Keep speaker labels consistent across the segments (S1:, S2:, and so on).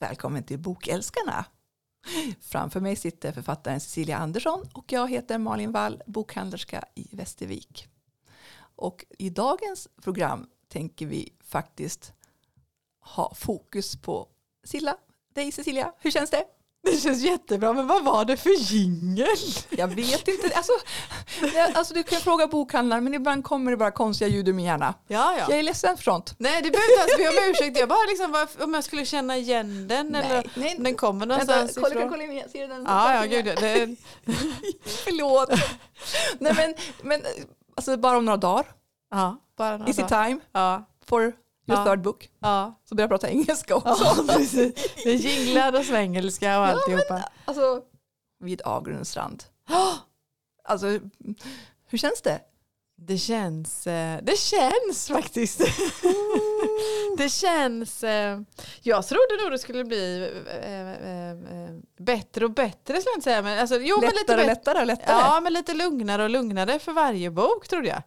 S1: välkommen till Bokälskarna. Framför mig sitter författaren Cecilia Andersson och jag heter Malin Wall, bokhandlerska i Västervik. Och i dagens program tänker vi faktiskt ha fokus på Silla, dig Cecilia, hur känns det?
S2: Det känns jättebra, men vad var det för jingel?
S1: Jag vet inte. Alltså, det- alltså, du kan fråga bokhandlaren, men ibland kommer det bara konstiga ljud ur min hjärna.
S2: Ja, ja.
S1: Jag är ledsen för sånt.
S2: Nej, det behöver inte ens be om ursäkt. Jag bara liksom, var- om jag skulle känna igen den eller
S1: Nej, nej.
S2: om den kommer
S1: Vänta,
S2: någonstans
S1: kolla, kolla,
S2: ifrån.
S1: kolla, in igen. ser du den?
S2: Ja, ja, gud. ja, Det,
S1: Förlåt. Nej, men, men alltså, bara om några dagar,
S2: ja, bara några
S1: is it
S2: dagar.
S1: time
S2: Ja,
S1: for your
S2: Ja.
S1: third book?
S2: ja.
S1: Så börjar jag prata engelska också.
S2: ja precis. Det är jinglar och svengelska och alltihopa.
S1: Alltså, vid Agrunds strand. Alltså, hur känns det?
S2: Det känns, eh, det känns faktiskt. Det känns, eh, jag trodde nog det skulle bli eh, eh, eh, bättre och bättre skulle jag inte säga. Men, alltså, jo, men lite
S1: lättare och
S2: bättre.
S1: lättare och lättare.
S2: Ja, men lite lugnare och lugnare för varje bok trodde jag.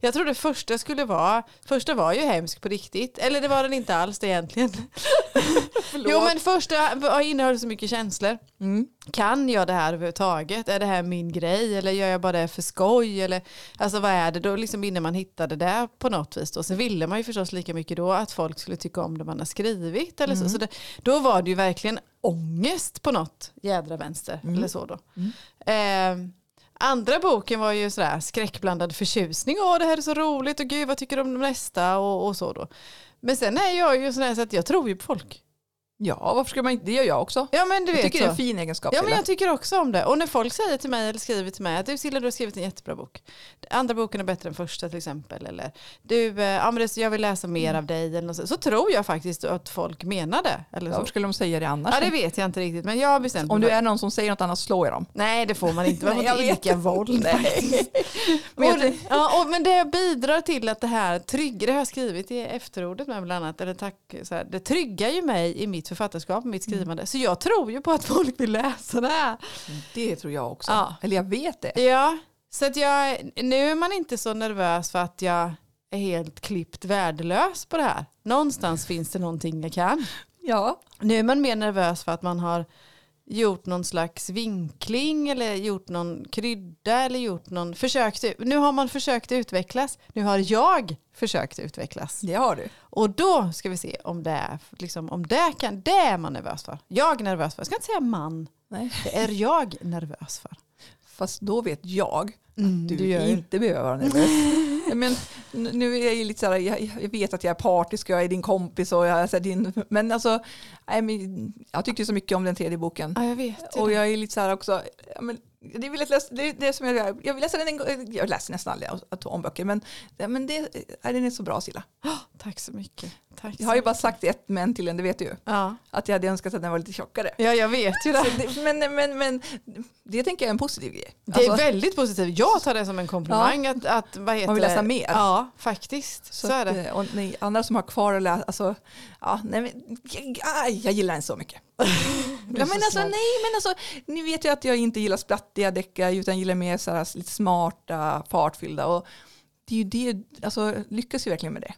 S2: Jag trodde första skulle vara, första var ju hemsk på riktigt, eller det var den inte alls egentligen.
S1: Förlåt.
S2: Jo men första var- innehöll så mycket känslor.
S1: Mm.
S2: Kan jag det här överhuvudtaget? Är det här min grej eller gör jag bara det för skoj? Eller, alltså vad är det då liksom innan man hittade det där på något vis då? Sen ville man ju förstås lika mycket då att folk skulle tycka om det man har skrivit eller
S1: Mm.
S2: så. så det, då var det ju verkligen ångest på något jädra vänster
S1: Mm.
S2: eller så då. Ehm, Andra boken var ju sådär skräckblandad förtjusning. Åh, det här är så roligt och gud, vad tycker du om nästa? Och, och så då. Men sen är jag ju sådär så att jag tror ju på folk.
S1: Ja, varför ska man inte? Det gör jag också.
S2: Ja, men du
S1: Jag
S2: vet
S1: tycker
S2: så.
S1: det är en fin egenskap.
S2: Ja men
S1: Cilla.
S2: jag tycker också om det. Och när folk säger till mig eller skriver till mig att du Silla du har skrivit en jättebra bok. Andra boken är bättre än första till exempel. Eller du, eh, ja, men det, jag vill läsa mer
S1: Mm.
S2: av dig. Eller något, så, så tror jag faktiskt att folk menar det. Eller
S1: Varför
S2: så.
S1: skulle de säga det annars?
S2: Ja det vet jag inte riktigt men jag har bestämt
S1: Om
S2: mig
S1: du
S2: för-
S1: är någon som säger något annat slår jag dem.
S2: Nej det får man inte. Man får
S1: Nej, jag
S2: inte
S1: vet.
S2: idka våld.
S1: Nej. Men
S2: Men,
S1: jag
S2: och,
S1: tänk-
S2: ja, och, men det bidrar till att det här trygga, det har jag skrivit i efterordet med bland annat, eller tack, så här, det tryggar ju mig i mitt författarskap, mitt
S1: Mm.
S2: skrivande. Så jag tror ju på att folk vill läsa det här.
S1: det tror jag också.
S2: Ja.
S1: Eller jag vet det.
S2: Ja, så att jag, nu är man inte så nervös för att jag är helt klippt värdelös på det här. Någonstans finns det någonting jag kan.
S1: Ja.
S2: Nu är man mer nervös för att man har gjort någon slags vinkling eller gjort någon krydda eller gjort någon försökt. Nu har man försökt utvecklas. Nu har jag försökt utvecklas.
S1: Det har du.
S2: Och då ska vi se om det, är- liksom, om det kan, det är man nervös för. Jag är nervös för. Jag ska inte säga man.
S1: Nej.
S2: Det är jag nervös för.
S1: Fast då vet jag att Mm, du,
S2: du gör ju-
S1: inte behöver vara nervös. Ja, Men n- nu är jag ju lite så här, jag, jag vet att jag är partisk och jag är din kompis och jag är så här din, men alltså, nej, men jag tyckte ju så mycket om den tredje boken.
S2: Ja, jag vet.
S1: Och jag är lite så här också, ja, men det, vill jag, läsa, det är det som jag gör. Jag vill läsa den en gång, jag läser nästan aldrig att- om böcker, men, ja, men det, nej, den är så bra Silla.
S2: Tack så mycket. Tack
S1: Jag har ju bara sagt ett men till den, det vet du ju.
S2: ja.
S1: Att jag hade önskat att den var lite tjockare.
S2: ja, jag vet ju det.
S1: Så det, men, men, men det tänker jag är en positiv grej.
S2: Det är
S1: Alltså,
S2: väldigt positivt. Jag tar det som en komplimang. Att, att, vad heter
S1: Man vill läsa
S2: det?
S1: mer.
S2: Ja, faktiskt. Så,
S1: Så
S2: är
S1: att,
S2: det.
S1: eh, och ni andra som har kvar att läsa, alltså, ja, nej, men, jag, aj, jag gillar den så mycket. ja,
S2: så
S1: men alltså,
S2: snäll.
S1: nej, men alltså, ni vet ju att jag inte gillar splattiga deckare utan gillar mer så här, alltså, lite smarta, fartfyllda. Och det är ju det, alltså, lyckas ju verkligen med det.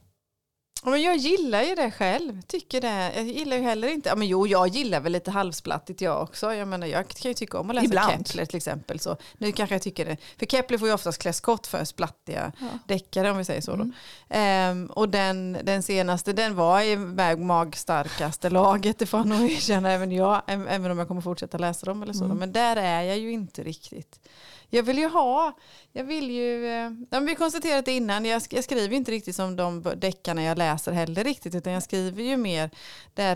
S2: Ja, Men jag gillar ju det själv. Tycker det. Jag gillar ju heller inte... Ja, men jo, jag gillar väl lite halvsplattigt jag också. Jag menar, jag kan ju tycka om att läsa
S1: Ibland.
S2: Kepler till exempel. Så nu kanske jag tycker det. För Kepler får ju oftast klä skott för splattiga deckare om vi säger så. Då. Ehm, och den, den senaste, den var i väg magstarkaste laget. Det får nog erkänna även jag. äm- Även om jag kommer fortsätta läsa dem eller så. då. Men där är jag ju inte riktigt. Jag vill ju ha, jag vill ju, eh, ja, men vi konstaterat det innan, jag, sk- jag skriver ju inte riktigt som de b- deckarna jag läser heller riktigt, utan jag skriver ju mer det här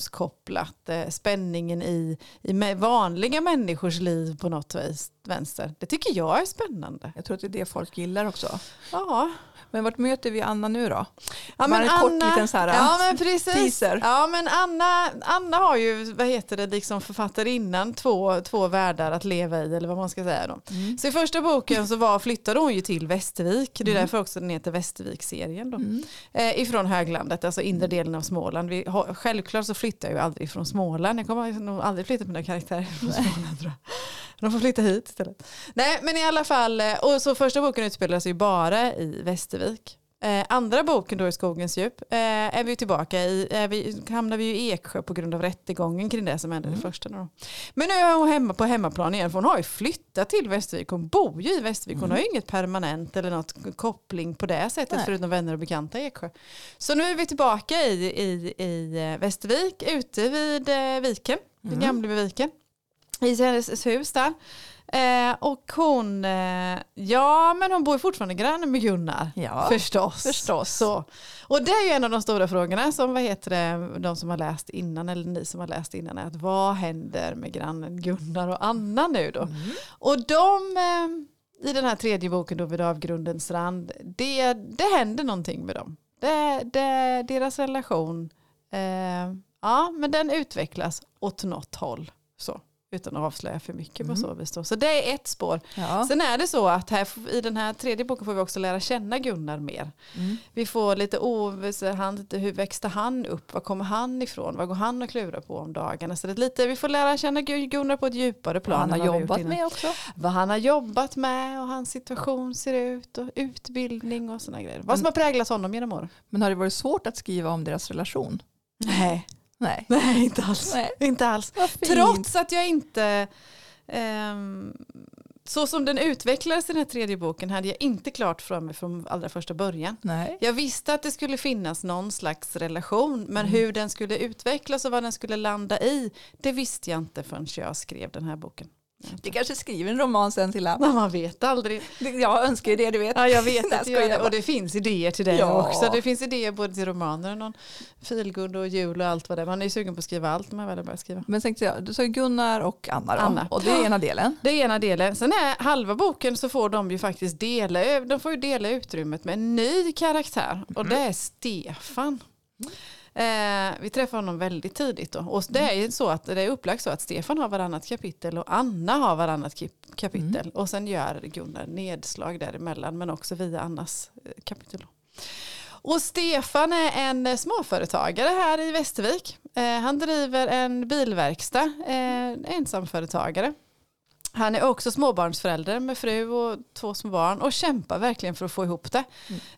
S2: relationskopplat, eh, spänningen i, i mä- vanliga människors liv på något vis, vänster. Det tycker jag är spännande.
S1: Jag tror att det är det folk gillar också.
S2: Ja,
S1: Men vart möter vi Anna nu då?
S2: ja
S1: Bara en kort liten så här,
S2: ja, men precis.
S1: teaser.
S2: Ja, men Anna, Anna har ju, vad heter det, liksom författarinnan, två, två världar att leva i, eller vad man ska säga då.
S1: Mm.
S2: Så i första boken så var, flyttade hon ju till Västervik, det är därför också den heter Västervik-serien då. Eh, ifrån höglandet, alltså inre delen av Småland. Vi, har- självklart så flyttar jag ju aldrig från Småland, jag kommer nog aldrig flytta mina karaktärer från Småland tror jag. De får flytta hit istället. Nej, men i alla fall, eh, och så första boken utspelar sig ju bara i Västervik. Eh, andra boken då i skogens djup eh, är vi ju tillbaka i, är vi, hamnar vi ju i Eksjö på grund av rättegången kring det som hände
S1: Mm.
S2: det första. Då. Men nu är hon hemma på hemmaplan igen för hon har ju flyttat till Västervik. Hon bor ju i Västervik. Hon har ju inget permanent eller något koppling på det sättet
S1: Mm. Nej.
S2: förutom vänner och bekanta i Eksjö. Så nu är vi tillbaka i, i, i eh, Västervik ute vid eh, viken, vid
S1: Mm.
S2: Gamlebyviken. I hennes hus där. Eh, och hon, eh, ja men hon bor ju fortfarande granne med Gunnar.
S1: Ja,
S2: förstås.
S1: förstås.
S2: Så. Och det är ju en av de stora frågorna som vad heter det, de som har läst innan eller ni som har läst innan är att vad händer med grannen Gunnar och Anna nu då?
S1: Mm.
S2: Och de eh, i den här tredje boken då vid avgrundens rand, det, det händer någonting med dem. Det, det, deras relation, eh, ja men den utvecklas åt något håll. Så. Utan att avslöja för mycket på
S1: Mm.
S2: så vis. Då. Så det är ett spår.
S1: Ja.
S2: Sen är det så att här, f- i den här tredje boken får vi också lära känna Gunnar mer.
S1: Mm.
S2: Vi får lite ovisshet, hur växte han upp, var kommer han ifrån, vad går han och klura på om dagarna. Så det är lite, vi får lära känna Gu- Gunnar på ett djupare plan.
S1: Han har
S2: än vad vi gjort
S1: jobbat
S2: innan.
S1: med också.
S2: Vad han har jobbat med och hans situation ser ut och utbildning och sådana grejer. Vad som har präglat honom genom åren.
S1: Men har det varit svårt att skriva om deras relation?
S2: Nej,
S1: Nej.
S2: nej inte alls.
S1: Nej.
S2: Inte alls.
S1: Vad fint.
S2: Trots att jag inte, ehm, så som den utvecklades i den här tredje boken hade jag inte klart för mig från allra första början.
S1: Nej.
S2: Jag visste att det skulle finnas någon slags relation men hur den skulle utvecklas och vad den skulle landa i det visste jag inte förrän jag skrev den här boken.
S1: Vi kanske skriver en roman sen till
S2: Men man vet aldrig.
S1: Jag önskar ju det, du vet.
S2: Ja, jag vet
S1: Nej,
S2: att
S1: skojar
S2: jag,
S1: bara.
S2: och det finns idéer till det
S1: Ja.
S2: också. Det finns idéer både till romaner och någon feelgood och jul och allt vad det är. Man är ju sugen på att skriva allt när man väl har börjat skriva.
S1: Men tänkte jag, du sa ju Gunnar och Anna då.
S2: Anna.
S1: Och det är ena delen.
S2: Det är ena delen. Sen är halva boken så får de ju faktiskt dela, ö- de får ju dela utrymmet med en ny karaktär och det är Stefan. Eh, vi träffar honom väldigt tidigt då. Och det är ju så att det är upplagt så att Stefan har varannat kapitel och Anna har varannat kip- kapitel. Och sen gör Gunnar nedslag däremellan men också via Annas eh, kapitel. Då. Och Stefan är en eh, småföretagare här i Västervik. Eh, han driver en bilverkstad, eh, ensamföretagare. Han är också småbarnsförälder med fru och två små barn och kämpar verkligen för att få ihop det.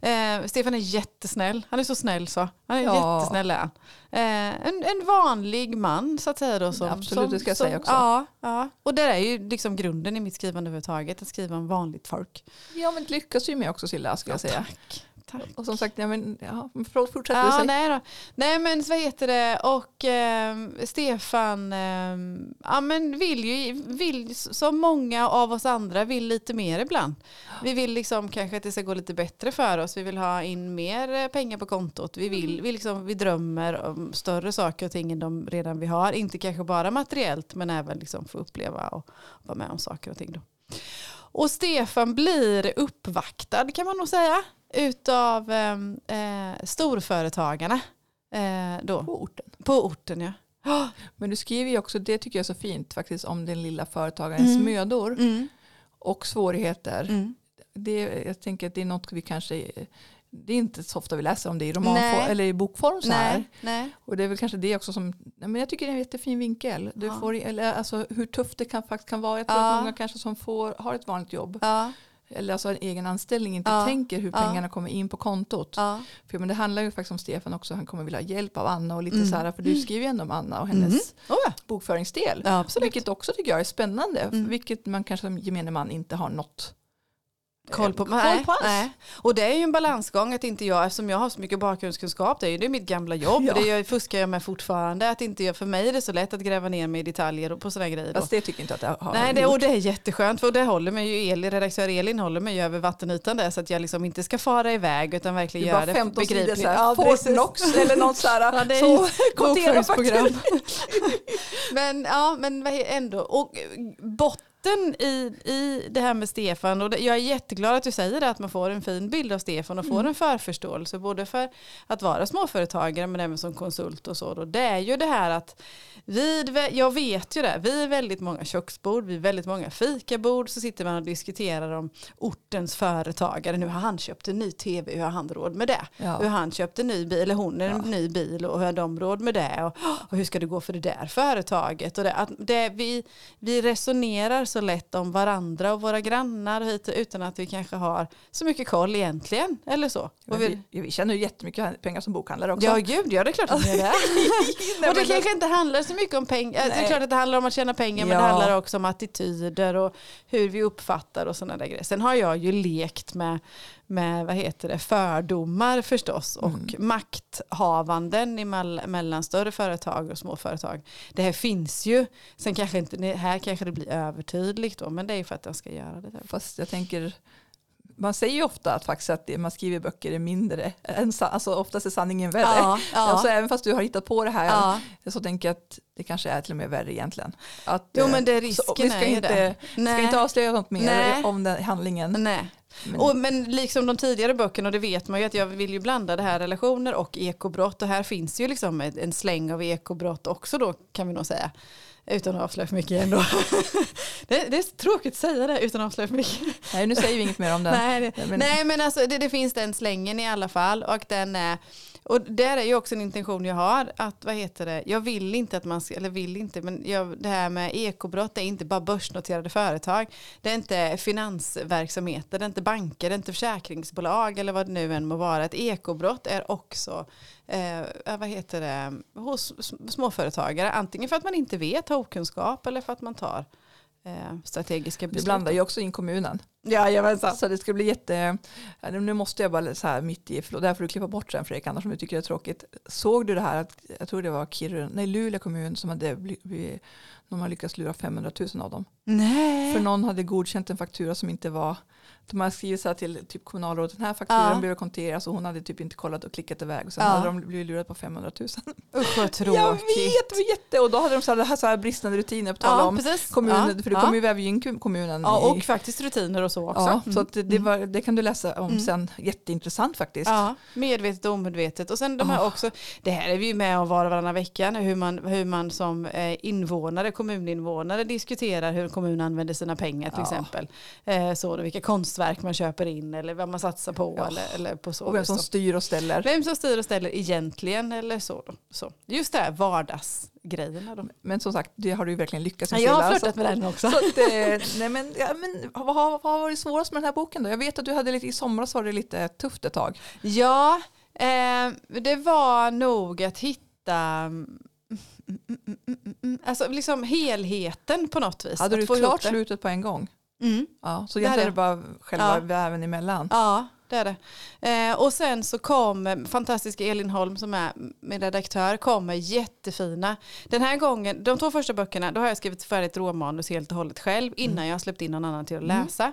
S2: Eh, Stefan är jättesnäll. Han är så snäll så. Han är
S1: Mm. Ja.
S2: jättesnäll är han. Eh, en, en vanlig man så att säga då. Som,
S1: Absolut,
S2: som,
S1: det ska jag
S2: som,
S1: säga också.
S2: Ja, ja. Och det är ju liksom grunden i mitt skrivande överhuvudtaget. Att skriva om vanligt folk.
S1: Ja, men det lyckas ju med också Silla, skulle jag säga.
S2: Tack. Tack.
S1: Och som sagt, ja, men, ja, men förlåt, fortsätt du
S2: Ja,
S1: säg.
S2: nej, då. nej men vad heter det och ehm, Stefan ehm, ja, men vill ju vill, som många av oss andra vill lite mer ibland. Vi vill liksom kanske att det ska gå lite bättre för oss. Vi vill ha in mer eh, pengar på kontot. Vi, vill, vi, liksom, vi drömmer om större saker och ting än de redan vi har. Inte kanske bara materiellt men även liksom få uppleva och vara med om saker och ting. Då. Och Stefan blir uppvaktad kan man nog säga utav ehm, eh, storföretagarna eh, då,
S1: På orten.
S2: på orten. Ja.
S1: Men du skriver ju också, det tycker jag är så fint faktiskt, om den lilla företagarens
S2: Mm.
S1: mödor
S2: Mm.
S1: och svårigheter.
S2: Mm.
S1: Det, jag tänker att det är något vi kanske, det är inte så ofta vi läser om det i romanform
S2: Nej.
S1: eller i bokform så här.
S2: Nej, nej.
S1: Och det är väl kanske det också som, nej, men jag tycker det är en jättefin vinkel. Du
S2: Ja.
S1: får, eller, alltså, hur tufft det kan, faktiskt kan vara. Jag tror
S2: Ja.
S1: att många kanske som får, har ett vanligt jobb
S2: Ja,
S1: eller alltså en egen anställning inte
S2: Ja.
S1: tänker hur
S2: Ja.
S1: pengarna kommer in på kontot.
S2: ja.
S1: För, men det handlar ju faktiskt om Stefan också, han kommer vilja ha hjälp av Anna och lite
S2: Mm.
S1: så här, för du skriver ju ändå om Anna och hennes
S2: Oh,
S1: bokföringsdel.
S2: ja, absolut.
S1: Vilket också tycker jag är spännande,
S2: Mm.
S1: vilket man kanske som gemene man inte har något
S2: Koll på,
S1: eh,
S2: nej,
S1: koll på alls.
S2: nej. Och det är ju en balansgång att inte jag, eftersom jag har så mycket bakgrundskunskap, det är ju det är mitt gamla jobb,
S1: Ja.
S2: det jag, fuskar jag med fortfarande, att inte jag, för mig är det så lätt att gräva ner mig i detaljer och på sådana grejer. Då.
S1: Fast det tycker inte jag att jag har
S2: Nej, det,
S1: gjort.
S2: och det är jätteskönt för det håller mig ju Elin, redaktör Elin håller mig ju över vattenytan där så att jag liksom inte ska fara iväg utan verkligen
S1: Det är
S2: göra
S1: bara
S2: det
S1: 15 sidor
S2: begripligt.
S1: så här,
S2: Ja,
S1: Fortnox eller något så här.
S2: Ja, det är
S1: så
S2: ju
S1: kvotera
S2: bokföringsprogram.
S1: fakturor.
S2: men ja, men vad är- ändå. Och eh, botten i, i det här med Stefan, och det, jag är jätteglad att du säger det, att man får en fin bild av Stefan och får en förförståelse, både för att vara småföretagare men även som konsult och så. Då. Det är ju det här att vid, jag vet ju det, vi är väldigt många köksbord, vi är väldigt många fikabord, så sitter man och diskuterar om ortens företagare, nu har han köpt en ny tv, hur har han råd med det?
S1: Ja.
S2: Hur han köpte en ny bil, eller hon en ny bil och hur har de råd med det? Och, och hur ska det gå för det där företaget? Och det, att det, vi, vi resonerar så lätt om varandra och våra grannar hit, utan att vi kanske har så mycket koll egentligen. Eller så.
S1: Men
S2: Och vi,
S1: vi, vi tjänar ju jättemycket pengar som bokhandlare också.
S2: ja gud, ja det är klart att vi är det.
S1: Nej,
S2: och det
S1: men-
S2: kanske inte handlar så mycket om pengar. Det är
S1: Nej.
S2: klart att det handlar om att tjäna pengar men
S1: Ja.
S2: det handlar också om attityder och hur vi uppfattar och sådana där grejer. Sen har jag ju lekt med, med vad heter det, fördomar förstås och
S1: Mm.
S2: makthavanden emell- mellan större företag och små företag. Det här finns ju. Sen kanske inte, det här kanske det blir övertydligt då men det är ju för att jag ska göra det. Där.
S1: Fast jag tänker, man säger ju ofta att faktiskt att det man skriver böcker är mindre, än, sa- alltså oftast är sanningen värre.
S2: Ja, ja.
S1: Alltså, även fast du har hittat på det här
S2: Ja.
S1: så tänker jag att det kanske är till och med värre egentligen. Att,
S2: Jo
S1: eh,
S2: men det
S1: så,
S2: risken
S1: vi ska
S2: är ju
S1: inte,
S2: det.
S1: ska
S2: Nej.
S1: inte avslöja något mer
S2: Nej.
S1: om den handlingen.
S2: Nej.
S1: Men-
S2: Men, och, men liksom de tidigare böckerna, och det vet man ju att jag vill ju blanda det här relationer och ekobrott. Och här finns ju liksom ett- en släng av ekobrott också då kan vi nog säga. Utan att avslöja för mycket ändå. det, det är tråkigt att säga det utan att avslöja för mycket.
S1: Nej, nu säger vi inget mer om den.
S2: Nej, det,
S1: Nej, men-
S2: nej men alltså det, det finns den slängen i alla fall. Och, den är, och där är ju också en intention jag har. Att vad heter det, jag vill inte att man ska, eller vill inte, men jag, det här med ekobrott det är inte bara börsnoterade företag. Det är inte finansverksamheter, det är inte banker, det är inte försäkringsbolag eller vad det nu än må vara. Ett ekobrott är också eh, vad heter det, hos s- småföretagare. Antingen för att man inte vet, har okunskap eller för att man tar eh, strategiska
S1: Du
S2: beslut.
S1: blandar ju också in kommunen.
S2: Jajamensan.
S1: Så det ska bli jätte... Ja, Nu måste jag bara så här mitt i, förlåt, det här får du klippa bort sen Fredrik, annars om du tycker det är tråkigt. Såg du det här, att, jag tror det var Kiruna, nej Luleå kommun som hade blivit, de har lyckats lura 500 000 av dem.
S2: Nej.
S1: För någon hade godkänt en faktura som inte var, de hade skrivit så här till typ kommunalrådet, den här fakturan
S2: Ja.
S1: blev konterad så hon hade typ inte kollat och klickat iväg och sen
S2: Ja.
S1: hade de blivit lurade på 500 000.
S2: Usch vad
S1: Jag
S2: tråkigt.
S1: vet, det var jätte, och då hade de så här, det här, så här bristande rutiner på tal om
S2: precis.
S1: kommunen,
S2: Ja,
S1: för det
S2: ja.
S1: kommer ju väva in kom- kommunen
S2: Ja,
S1: i
S2: och faktiskt rutiner och så också.
S1: Ja,
S2: Mm.
S1: så att det, det, var, det kan du läsa om sen. Jätteintressant faktiskt.
S2: Ja, medvetet och omedvetet. Och sen de
S1: Ah.
S2: här också, det här är vi ju med om var och varannan vecka, nu, hur man, hur man som eh, invånare, kommuninvånare diskuterar hur kommunen använder sina pengar till
S1: Ja.
S2: exempel. Eh, så, då, vilka konstverk man köper in eller vad man satsar på
S1: Ja.
S2: eller, eller på så.
S1: Och vem som
S2: Så.
S1: styr och ställer.
S2: vem som styr och ställer egentligen eller så. Då. så. Just det här vardagsgrejerna då.
S1: Men som sagt, det har du ju verkligen lyckats med.
S2: Jag har
S1: Cilla,
S2: flörtat
S1: så-
S2: med den också.
S1: Så att, eh, nej men, ja, men, vad, har, vad har varit svårast med den här boken då? Jag vet att du hade lite, i somras var det lite tufft ett tag.
S2: Ja, eh, det var nog att hitta mm, mm, mm, mm, mm, alltså liksom helheten på något vis.
S1: Hade
S2: Att
S1: du
S2: få ihop
S1: klart
S2: det.
S1: slutet på en gång?
S2: Mm.
S1: Ja, så
S2: Det hade
S1: egentligen är det bara själva
S2: Ja.
S1: väven emellan.
S2: Ja, det är det. Eh, och sen så kom eh, fantastiska Elin Holm som är min redaktör, kommer jättefina. Den här gången, de två första böckerna, då har jag skrivit färdigt råmanus helt och hållet själv innan
S1: Mm.
S2: jag har släppt in någon annan till att läsa.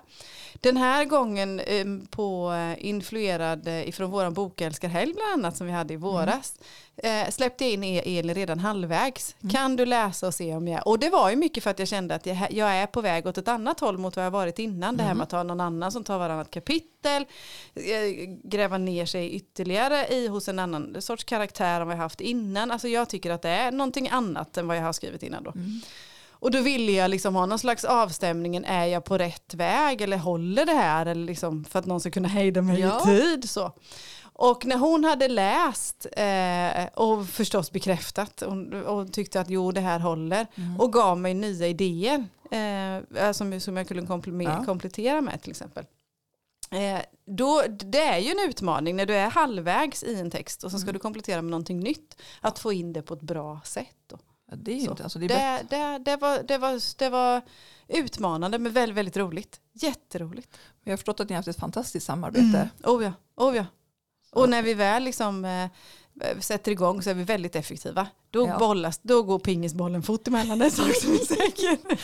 S2: Den här gången eh, på eh, influerad eh, ifrån våran bokälskarhelg bland annat som vi hade i våras, eh, släppte jag in E- Elin redan halvvägs. Kan du läsa och se om jag... Och det var ju mycket för att jag kände att jag, jag är på väg åt ett annat håll mot vad jag varit innan. Det här med att ha någon annan som tar varannat kapitel, eh, gräva ner sig ytterligare i hos en annan sorts karaktär än vad jag haft innan. Alltså jag tycker att det är någonting annat än vad jag har skrivit innan då. Och då ville jag liksom ha någon slags avstämningen, är jag på rätt väg eller håller det här? Eller liksom, för att någon ska kunna hejda mig
S1: Ja.
S2: i tid. Så. Och när hon hade läst eh, och förstås bekräftat och, och tyckte att jo det här håller
S1: Mm.
S2: och gav mig nya idéer eh, som, som jag kunde komple-
S1: Ja.
S2: komplettera med till exempel. Eh, då, det är ju en utmaning när du är halvvägs i en text och sen ska
S1: Mm.
S2: du komplettera med någonting nytt. Att få in det på ett bra sätt. Då.
S1: Ja, det är ju
S2: Så.
S1: inte, alltså det är bättre.
S2: Det, det, det, var, det, var, det var utmanande men väldigt, väldigt roligt. Jätteroligt.
S1: Jag har förstått att ni har haft ett fantastiskt samarbete.
S2: Oh ja, oh ja. Och när vi väl liksom, eh, sätter igång så är vi väldigt effektiva. Då,
S1: Ja.
S2: bollas, då går pingisbollen fort emellan, det är sak som är säker.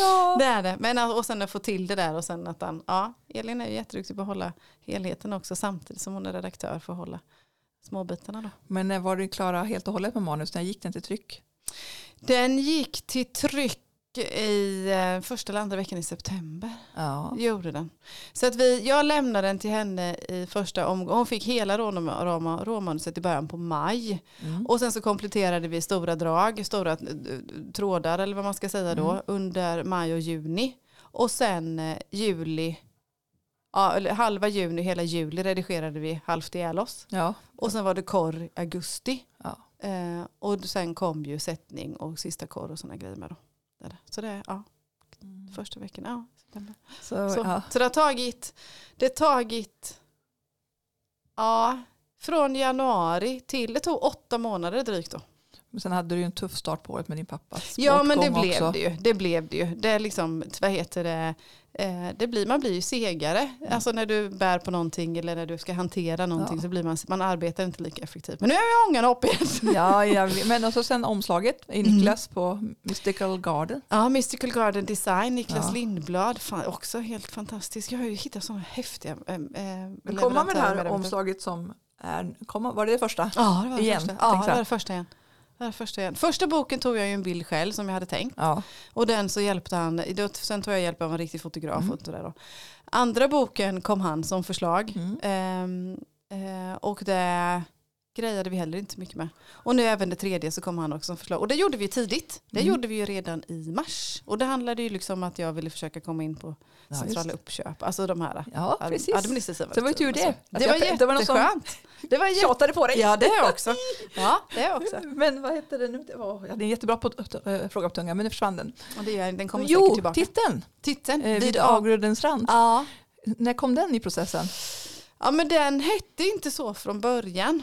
S1: Ja.
S2: Det är det. Men, att- och sen att få till det där och sen att han, ja, Elin är ju jätteduktig på att hålla helheten också samtidigt som hon är redaktör för att hålla småbitarna då.
S1: Men när var du klara helt och hållet med manus? När gick den till tryck?
S2: Den gick till tryck i eh, första eller andra veckan i september.
S1: Ja.
S2: Gjorde den. Så att vi, jag lämnade den till henne i första omgången. Hon fick hela rånoma- roma- råmanuset i början på maj.
S1: Mm.
S2: Och sen så kompletterade vi stora drag, stora eh, trådar eller vad man ska säga då,
S1: Mm.
S2: under maj och juni. Och sen eh, juli, ja, eller halva juni, hela juli redigerade vi halvt ihjäl oss.
S1: Ja.
S2: Och sen var det korr i augusti.
S1: ja.
S2: Eh, och sen kom ju sättning och sista korr och sådana grejer med då. Där, där. Så det, ja. Första veckan, ja. september.
S1: Så,
S2: Så,
S1: ja.
S2: så det har tagit, det har tagit, ja, från januari till, det tog åtta månader drygt då.
S1: Men sen hade du ju en tuff start på året med din pappas
S2: Ja men det
S1: bortgång
S2: blev
S1: också.
S2: det ju. Det blev det ju. Det är liksom, vad heter det, eh, det blir, man blir ju segare. Alltså när du bär på någonting eller när du ska hantera någonting
S1: Mm. Ja.
S2: så blir man, man arbetar inte lika effektivt. Men nu är jag ångan upp igen.
S1: Ja, jag vet. men också sen omslaget i Niklas på Mystical Garden.
S2: Ja, Mystical Garden Design, Niklas
S1: Ja.
S2: Lindblad, fan, också helt fantastisk. Jag har ju hittat sådana häftiga eh, eh,
S1: Men komma med det här
S2: leverantörer.
S1: omslaget som är, komma, var det det första?
S2: Ja, det var det
S1: igen,
S2: första.
S1: tänkte
S2: Ja,
S1: jag.
S2: det var det första igen. Det var det första igen. Första boken tog jag ju en bild själv som jag hade tänkt.
S1: Ja,
S2: Och den så hjälpte han, då, sen tog jag hjälp av en riktig fotograf.
S1: Mm.
S2: Och det där då. Andra boken kom han som förslag.
S1: Mm.
S2: Ehm, eh, och det grejade vi heller inte så mycket med. Och nu även det tredje så kom han också som förslag. Och det gjorde vi ju tidigt. Det
S1: Mm.
S2: gjorde vi ju redan i mars. Och det handlade ju liksom om att jag ville försöka komma in på
S1: ja,
S2: centrala
S1: just.
S2: uppköp. Alltså de här
S1: ja
S2: ad-
S1: precis.
S2: administrativa.
S1: Så det var ju tur det.
S2: Det,
S1: Att
S2: var
S1: jag- det var någon som-
S2: jätteskönt. Det var jätte...
S1: Tjatade på dig.
S2: Ja det är också. Ja det är också.
S1: Men vad heter det nu? Det var, jag hade en jättebra på, äh, fråga på tungan men nu försvann den.
S2: Och det gör, den kommer säkert
S1: jo,
S2: tillbaka.
S1: titeln.
S2: Titeln.
S1: Eh, vid
S2: av-
S1: avgrundens rand.
S2: Ja.
S1: När kom den i processen?
S2: Ja men den hette inte så från början.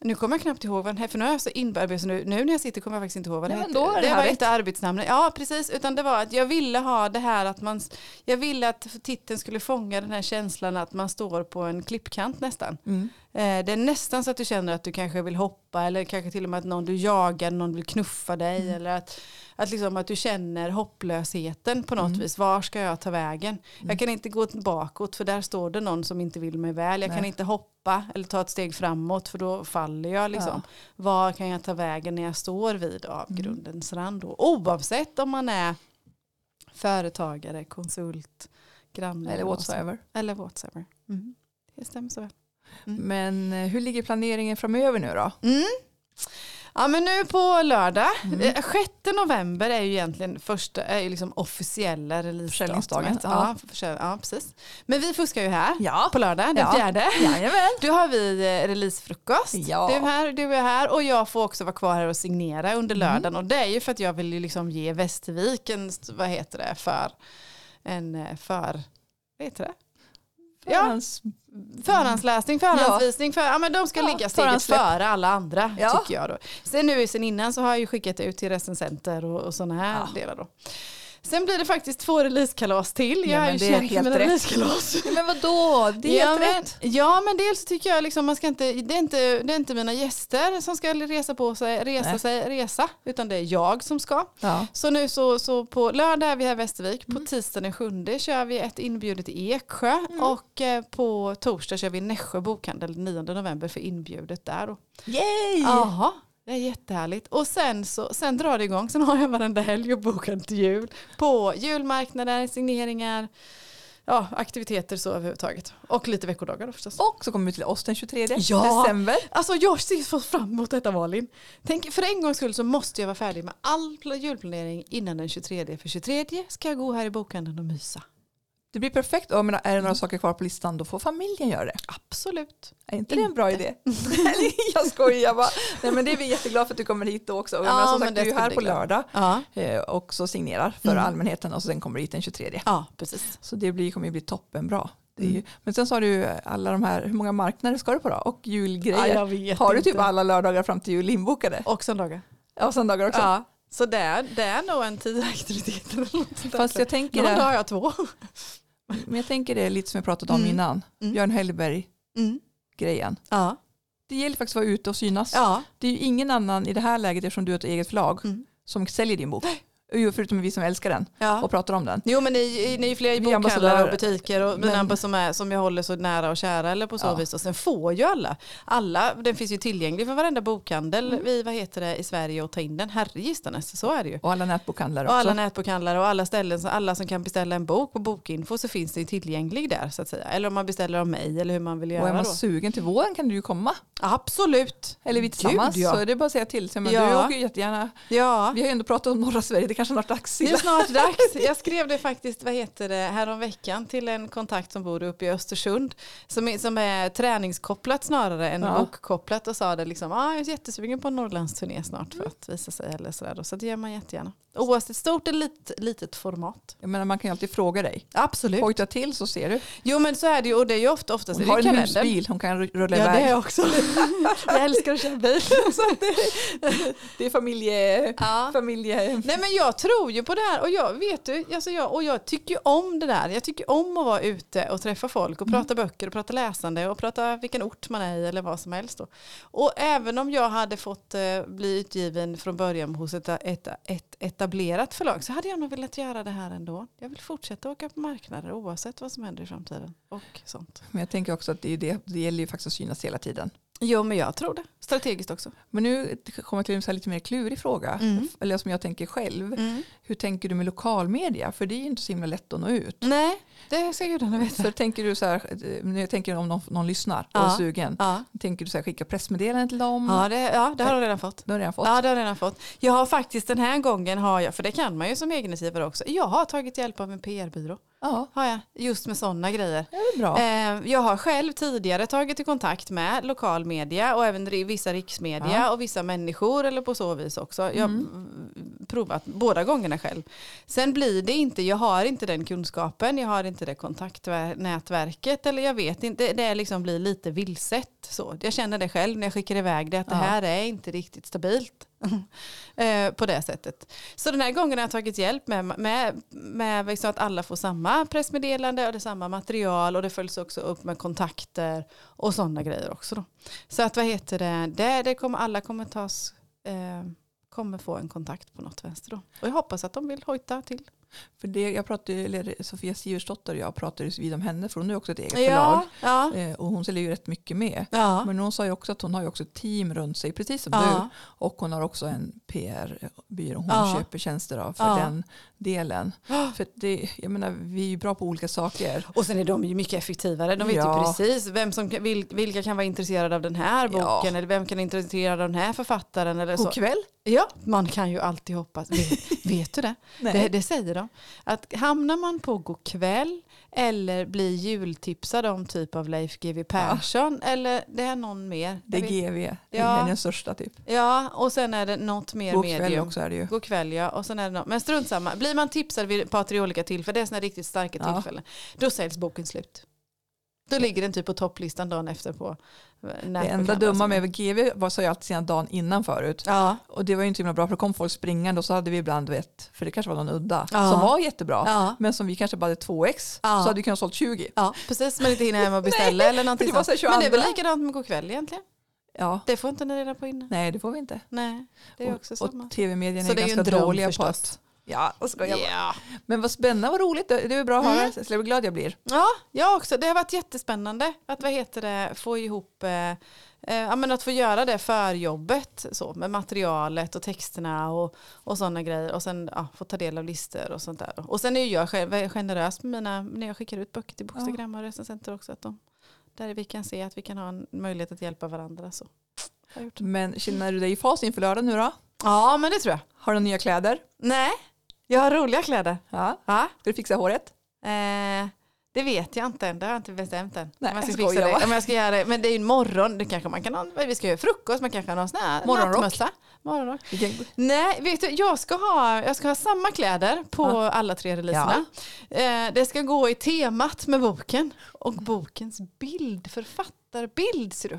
S2: Nu kommer jag knappt ihåg vad den hette, för nu är jag så inbarbad så nu, nu när jag sitter kommer jag faktiskt inte ihåg vad den
S1: Nej, men
S2: hette.
S1: då är det
S2: det
S1: här
S2: var
S1: rätt.
S2: inte arbetsnamnet. Ja precis, utan det var att jag ville ha det här att man, jag ville att titeln skulle fånga den här känslan att man står på en klippkant nästan.
S1: Mm.
S2: Eh, det är nästan så att du känner att du kanske vill hoppa eller kanske till och med att någon du jagar, någon vill knuffa dig
S1: Mm.
S2: eller att, att, liksom att du känner hopplösheten på något
S1: Mm.
S2: vis. Var ska jag ta vägen? Jag kan inte gå bakåt för där står det någon som inte vill mig väl. Jag kan
S1: Nej.
S2: inte hoppa eller ta ett steg framåt för då faller jag. Liksom. Var kan jag ta vägen när jag står vid
S1: Mm.
S2: avgrundens rand? Då? Oavsett om man är företagare, konsult, grannlärare
S1: Eller whatsoever.
S2: Eller whatsoever. Mm. Det stämmer så väl.
S1: Men eh, hur ligger planeringen framöver nu då?
S2: Mm. Ja men nu på lördag,
S1: Mm.
S2: eh, 6 november är ju egentligen första, är ju liksom officiella releasedatumet.
S1: Försäljningsdagen, ja.
S2: Ja. försälj- ja precis. Men vi fuskar ju här
S1: Ja,
S2: på lördag den
S1: Ja.
S2: fjärde.
S1: jajamän.
S2: Då har vi eh, releasefrukost.
S1: Ja.
S2: Du är här, du är här och jag får också vara kvar här och signera under
S1: Mm.
S2: lördagen. Och det är ju för att jag vill ju liksom ge Västervik en, vad heter det, för, en eh, för, vad heter det? Ja.
S1: Hans-
S2: Förhandsläsning, förhandsvisning, för, ja, men de ska
S1: Mm. Ja,
S2: ligga steget
S1: förhandssläpp.
S2: före alla andra
S1: Ja.
S2: tycker jag. Då. Sen nu sen innan så har jag ju skickat ut till recensenter och, och sådana här
S1: Ja.
S2: delar då. Sen blir det faktiskt två releasekalas till. Jag
S1: Ja,
S2: har
S1: men
S2: ju
S1: det är
S2: känt
S1: helt
S2: mina
S1: rätt.
S2: releasekalas.
S1: Ja, men vadå, det är
S2: ja,
S1: helt
S2: men,
S1: rätt.
S2: Ja men dels tycker jag liksom man ska inte, det är inte, det är inte mina gäster som ska resa på sig, resa
S1: Nej.
S2: sig, resa, utan det är jag som ska.
S1: Ja.
S2: Så nu så, så på lördag är vi här i Västervik, på tisdag den sjunde kör vi ett inbjudet i Eksjö och eh, på torsdag kör vi Nässjö bokhandel 9 november för inbjudet där. då.
S1: Yay!
S2: Jaha, det är jättehärligt. Och sen, så, sen drar det igång, sen har jag varenda helg och boken till jul på julmarknader, signeringar, ja, aktiviteter så överhuvudtaget. Och lite veckodagar då förstås.
S1: Och så kommer vi till oss den 23
S2: Ja.
S1: december.
S2: Alltså jag ser så fram emot detta Malin. Tänk, för en gångs skull så måste jag vara färdig med all pla- julplanering innan den 23. För 23 ska jag gå här i bokhandeln och mysa.
S1: Det blir perfekt. Och Jag menar, är det några saker kvar på listan då får familjen göra det.
S2: Absolut.
S1: Är inte det en bra idé? Eller, jag skojar jag bara. Nej, men det är vi jätteglada för att du kommer hit då också. Och jag
S2: Ja,
S1: menar, som
S2: men
S1: sagt,
S2: det
S1: du är ju
S2: ska
S1: här
S2: bli
S1: på
S2: glad.
S1: lördag
S2: Ja,
S1: eh, och så signerar för allmänheten och sen kommer du hit den 23.
S2: ja precis.
S1: Så det blir, kommer ju bli toppenbra. Det är ju, men sen så har du ju alla de här, hur många marknader ska du på då? Och julgrejer.
S2: vet
S1: har du typ
S2: inte.
S1: alla lördagar fram till jul inbokade?
S2: Och söndagar.
S1: Ja, söndagar också.
S2: Ja. Så det är, det är nog en tio aktiviteter eller något sånt där.
S1: Fast jag tänker,
S2: Någon dag
S1: det,
S2: har jag två.
S1: men jag tänker det lite som jag pratat om
S2: Mm.
S1: innan.
S2: Mm.
S1: Björn Hellberg-grejen. grejen
S2: Ja.
S1: Det gäller faktiskt att vara ute och synas.
S2: ja.
S1: Det är ju ingen annan i det här läget, eftersom du har ett eget förlag,
S2: Mm.
S1: som säljer din bok. Jo, Förutom vi som älskar den
S2: ja.
S1: och pratar om den.
S2: Jo men ni, ni är ju fler i
S1: Vi är ambassadörer.
S2: bokhandlar och butiker och mina
S1: Men-
S2: som, är, som jag håller så nära och kära eller på så
S1: Ja.
S2: vis. Och sen får ju alla, alla, den finns ju tillgänglig för varenda bokhandel
S1: Mm.
S2: i, vad heter det, i Sverige och ta in den. Herregistanes, så är det ju.
S1: Och alla nätbokhandlare
S2: Och
S1: också.
S2: alla nätbokhandlare och alla ställen, så alla som kan beställa en bok på Bokinfo så finns det ju tillgänglig där så att säga. Eller om man beställer av mig eller hur man vill
S1: och är
S2: göra
S1: man
S2: då.
S1: sugen till våren kan du ju komma.
S2: Absolut.
S1: Eller vi tillsammans.
S2: Gud, ja.
S1: Så är det bara att säga till. Så, men
S2: Ja.
S1: Du åker ju jättegärna.
S2: Ja.
S1: Vi har ju ändå pratat om norra Sverige, det kanske är snart dags.
S2: Det är snart dags. Jag skrev det faktiskt, vad heter det, häromveckan till en kontakt som bor uppe i Östersund. Som är, som är träningskopplat snarare än
S1: Ja. Mm.
S2: bokkopplat och sa det liksom, ah, jag är jättesugen på en Norrlandsturné snart för att visa sig eller sådär. då." Så det gör man jättegärna. Oavsett stort eller litet, litet format.
S1: Jag menar, man kan ju alltid fråga dig.
S2: Absolut.
S1: Pojta till så ser du.
S2: Jo men Typ. så är det ju och det är ju ofta, oftast
S1: Hon
S2: är
S1: har
S2: det
S1: en
S2: kalendern.
S1: husbil, hon kan ru- rulla
S2: Ja det
S1: iväg.
S2: är jag också. jag älskar att köra bil.
S1: Det är familje...
S2: Ja.
S1: familje.
S2: Nej men jag tror ju på det här och jag vet du, alltså jag, och jag tycker ju om det där. Jag tycker om att vara ute och träffa folk och prata böcker och prata läsande och prata vilken ort man är i eller vad som helst. Då. Och även om jag hade fått eh, bli utgiven från början hos ett, ett, ett etablerat förlag så hade jag nog velat göra det här ändå. Jag vill fortsätta åka på marknader oavsett vad som händer i framtiden och sånt.
S1: Men jag tänker också att det, är ju det, det gäller ju faktiskt att synas hela tiden.
S2: Jo men jag tror det. Strategiskt också.
S1: Men nu kommer jag till en så här lite mer klurig fråga.
S2: Mm.
S1: Eller som jag tänker själv. Hur tänker du med lokalmedia? För det är ju inte så himla lätt att nå ut.
S2: Nej, det ska gudarna veta.
S1: För tänker du så här, eh, nu tänker jag om någon, någon lyssnar och
S2: Mm. Ja.
S1: är sugen.
S2: Ja,
S1: Tänker du så här, skicka pressmeddelanden till dem?
S2: ja, det, ja det har de redan fått.
S1: Det har jag redan fått.
S2: Ja, det har jag redan fått. Jag har faktiskt den här gången, har jag, för det kan man ju som egenutgivare också, jag har tagit hjälp av en PR-byrå.
S1: Ja,
S2: Har jag, just med sådana grejer.
S1: det är bra.
S2: Eh, Jag har själv tidigare tagit i kontakt med lokal media och även ri- vissa riksmedia
S1: Ja.
S2: och vissa människor eller på så vis också. Jag har mm, provat båda gångerna själv. Sen blir det inte, jag har inte den kunskapen, jag har inte det kontaktnätverket eller jag vet inte, det är liksom blir lite vilset. Så. Jag känner det själv när jag skickar iväg det, att
S1: Ja.
S2: det här är inte riktigt stabilt. Eh, på det sättet. Så den här gången har jag tagit hjälp med, med, med liksom att alla får samma pressmeddelande och det är samma material och det följs också upp med kontakter och sådana grejer också. Då. Så att vad heter det, det, det kommer, alla kommer, tas, eh, kommer få en kontakt på något vänster då. Och jag hoppas att de vill hojta till.
S1: För det, jag pratade, eller Sofia Siversdotter och jag pratade ju vid om henne för hon är också ett eget
S2: Ja,
S1: förlag.
S2: ja,
S1: Eh, Och hon säljer ju rätt mycket med.
S2: ja.
S1: Men hon sa ju också att hon har ju också ett team runt sig, precis som
S2: Ja.
S1: du. Och hon har också en PR-byrå hon
S2: Ja.
S1: köper tjänster av för
S2: Ja.
S1: den delen. För att det, jag menar, vi är ju bra på olika saker.
S2: Och sen är de ju mycket effektivare. De vet ju
S1: Ja.
S2: precis vem som, kan- vil, vilka kan vara intresserade av den här boken
S1: Ja.
S2: eller vem kan vara intresserad av den här författaren. Eller så.
S1: God kväll.
S2: Ja, man kan ju alltid hoppas. Vet, vet du det?
S1: Nej.
S2: det? Det säger de. Att hamnar man på god kväll eller blir jultipsad om typ av Leif GW Persson eller det är någon mer.
S1: Det är
S2: Jag vet-
S1: GV, det
S2: Ja.
S1: är den största typ.
S2: Ja, och sen är det något mer
S1: God kväll
S2: medium.
S1: också är det ju.
S2: God kväll ja, och sen är det något. Men strunt samma. Blir man tipsad vid ett par tre olika tillfällen, det är sådana riktigt starka
S1: Ja.
S2: tillfällen, då säljs boken slut. Då ligger den typ på topplistan dagen efter på eh,
S1: Det enda dumma med GV var sa ju alltid sina dagen innan förut.
S2: Ja,
S1: Och det var ju inte så himla bra för då kom folk springande och så hade vi ibland, du vet, för det kanske var någon udda
S2: Ja.
S1: som var jättebra.
S2: ja.
S1: Men som vi kanske bara hade 2x
S2: Ja.
S1: så hade vi kunnat sålt 20.
S2: Ja, precis. Men inte hinna hem och beställa eller någonting
S1: för det var
S2: sånt.
S1: så här
S2: Men det är väl
S1: 22.
S2: likadant med kväll egentligen.
S1: Ja.
S2: Det får inte ni reda på innan.
S1: Nej, det får vi inte.
S2: Nej, det är
S1: Och-
S2: också
S1: och
S2: samma.
S1: tv-medierna
S2: Så
S1: är,
S2: det är ju en
S1: ganska
S2: dröm
S1: dåliga
S2: förstås.
S1: på att... Ja, jag skojar bara.
S2: Ja.
S1: Men vad spännande, vad roligt. Det det är bra att höra.
S2: Mm.
S1: Så jag blir glad jag blir.
S2: ja, jag också. Det har varit jättespännande att vad heter det, få ihop, eh, eh, ja, men att få göra det för jobbet så, med materialet och texterna och, och sådana grejer och sen ja, få ta del av listor och sånt där. Och sen är ju jag själv generös med mina, när jag skickar ut böcker till Bokstagram och recensenter också, att de, där vi kan se att vi kan ha en möjlighet att hjälpa varandra. Så. Har jag gjort.
S1: Men känner du dig i fas inför lördag nu då?
S2: Ja, men det tror jag.
S1: Har du nya kläder?
S2: Nej, jag har roliga kläder.
S1: Ja.
S2: Ja.
S1: Ska du fixa håret?
S2: Eh, det vet jag inte än, det har jag inte bestämt än.
S1: Nej,
S2: om jag ska
S1: jag
S2: fixa
S1: skojar
S2: det.
S1: bara.
S2: Om jag ska göra det. Men det är ju en morgon, det kanske man kan ha, vi ska göra frukost, man kanske har någon sån här
S1: Morgonrock.
S2: nattmössa. Morgonrock.
S1: Vilken-
S2: Nej, vet du, jag ska ha, jag ska ha samma kläder på
S1: Ja.
S2: alla tre releaserna. Eh, det ska gå i temat med boken och bokens bild, författarbild ser du.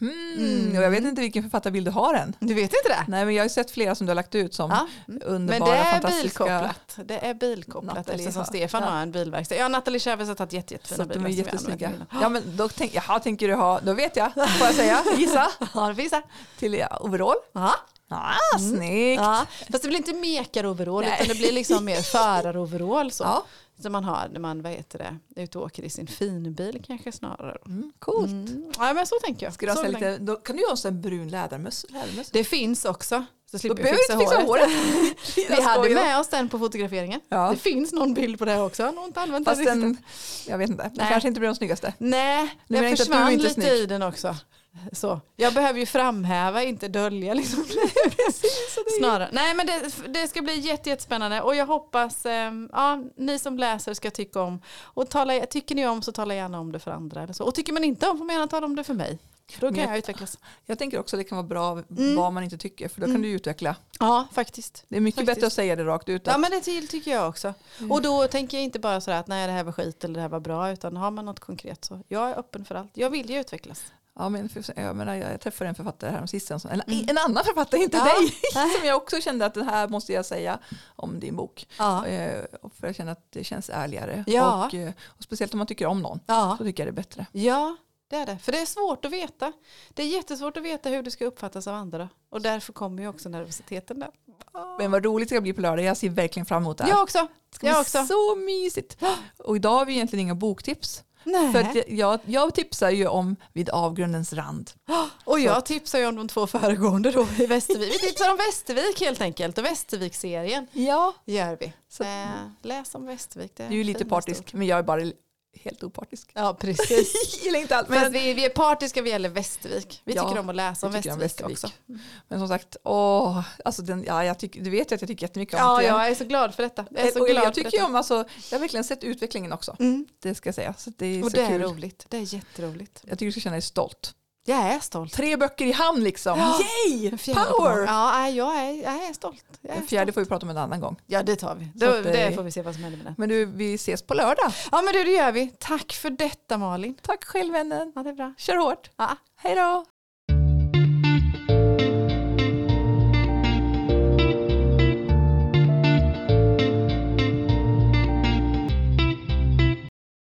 S1: Mm. Och jag vet inte vilken författarbild du har än.
S2: Du vet inte det?
S1: Nej, men jag har ju sett flera som du har lagt ut som
S2: Ja. Men
S1: underbara,
S2: det är
S1: fantastiska.
S2: bilkopplat. Det är bilkopplat
S1: Nathalie
S2: eftersom
S1: har-
S2: Stefan
S1: ja.
S2: har en bilverkstad. Ja, Nathalie Chavez har tagit jätte,
S1: Så
S2: jättefina
S1: att de är
S2: bilar. som vi
S1: jättesnygga.
S2: använder.
S1: Ja, men då tänk, jaha, tänker du ha, då vet jag, får jag säga, gissa,
S2: Ja, det finns det.
S1: till ja, overall.
S2: Ja.
S1: Ah, snyggt!
S2: Ja, fast det blir inte mekaroverall
S1: Nej.
S2: utan det blir liksom mer föraroverall så.
S1: Ja.
S2: Som man har när man vad heter det, är ute och åker i sin finbil kanske snarare.
S1: Mm, coolt.
S2: Mm. Ja men så tänker jag.
S1: Ska du ha
S2: Så
S1: så här
S2: länge.
S1: lite, då kan du ha en sån här brun lädermössa. lädermössa.
S2: Det finns också. Så
S1: Då
S2: slipper jag
S1: behöver du
S2: fixa,
S1: inte fixa
S2: håret.
S1: håret.
S2: Vi
S1: Jag
S2: hade
S1: skojar.
S2: med oss den på fotograferingen.
S1: Ja.
S2: Det finns någon bild på det också. Jag har nog inte använt
S1: Fast
S2: den riktigt.
S1: den, jag vet inte, den
S2: Nej.
S1: kanske inte blir den snyggaste.
S2: Nej,
S1: Nu menar
S2: jag
S1: jag inte att du
S2: försvann
S1: inte är
S2: lite
S1: snygg.
S2: i den också. Så. Jag behöver ju framhäva, inte dölja. Liksom. Snarare. Nej, men det, det ska bli jätte, jättespännande och jag hoppas eh, ja, ni som läser ska tycka om. Och tala, tycker ni om så tala gärna om det för andra. Eller så. Och tycker man inte om får man gärna tala om det för mig. Då kan
S1: Men-
S2: jag utvecklas.
S1: Jag tänker också att det kan vara bra
S2: Mm.
S1: vad man inte tycker för då kan
S2: Mm.
S1: du utveckla.
S2: Ja, faktiskt.
S1: Det är mycket
S2: Faktiskt.
S1: bättre att säga det rakt ut.
S2: Ja
S1: att-
S2: men det ty- tycker jag också.
S1: Mm.
S2: Och då tänker jag inte bara sådär att nej det här var skit eller det här var bra utan har man något konkret så jag är öppen för allt. Jag vill ju utvecklas.
S1: Ja, men för, jag, menar, jag träffade en författare häromsistens, en,
S2: Mm.
S1: en annan författare, inte
S2: Ja.
S1: dig, som jag också kände att det här måste jag säga om din bok.
S2: Ja.
S1: Eh, och för jag känner att det känns ärligare.
S2: Ja.
S1: Och, eh, och speciellt om man tycker om någon,
S2: Ja.
S1: så tycker jag det är bättre.
S2: ja, det är det. För det är svårt att veta. Det är jättesvårt att veta hur du ska uppfattas av andra. Och därför kommer ju också nervositeten där.
S1: Men vad roligt det ska bli på lördag, jag ser verkligen fram emot det här.
S2: Jag också.
S1: det ska
S2: Jag
S1: bli
S2: också.
S1: så mysigt. Och idag har vi egentligen inga boktips.
S2: Nej.
S1: För att jag- jag, jag tipsar ju om Vid avgrundens rand.
S2: Och jag tipsar ju om de två föregående då i Västervik. Vi tipsar om Västervik helt enkelt och Västervik-serien
S1: Ja.
S2: gör vi.
S1: Så,
S2: Eh, läs om Västervik. Det
S1: Du är ju lite
S2: finaste ord.
S1: partisk, men jag är bara helt opartisk.
S2: Ja, precis.
S1: Jag gillar inte allt.
S2: Men
S1: Men,
S2: Fast vi, vi är partiska vad gäller Västervik. Vi
S1: Ja,
S2: tycker om att läsa om
S1: vi tycker
S2: Västervik,
S1: om Västervik.
S2: också.
S1: men som sagt, åh, alltså den, ja, jag tycker, du vet ju att jag tycker jättemycket om
S2: Ja,
S1: det.
S2: jag är så glad för detta. Jag är så
S1: Eh, och
S2: glad
S1: jag tycker
S2: för
S1: ju
S2: detta.
S1: om, alltså, jag har verkligen sett utvecklingen också.
S2: Mm.
S1: Det ska jag säga. Så det är
S2: Och
S1: så
S2: det är
S1: kul.
S2: roligt. Det är jätteroligt.
S1: Jag tycker du ska känna dig stolt.
S2: Jag är stolt.
S1: Tre böcker i hamn liksom.
S2: Ja.
S1: Yay!
S2: En fjärde på
S1: Power!
S2: gång. Ja, nej, jag är, jag är stolt. Jag är
S1: Den fjärde
S2: stolt.
S1: får vi prata om en annan gång.
S2: Ja, det tar vi.
S1: Så
S2: Då,
S1: att det-
S2: det får vi se vad som händer med den.
S1: Men du, vi ses på lördag.
S2: Ja, men du, det gör vi. Tack för detta Malin.
S1: Tack själv vännen.
S2: Ja, det är bra.
S1: Kör hårt.
S2: Ja.
S1: Hej då!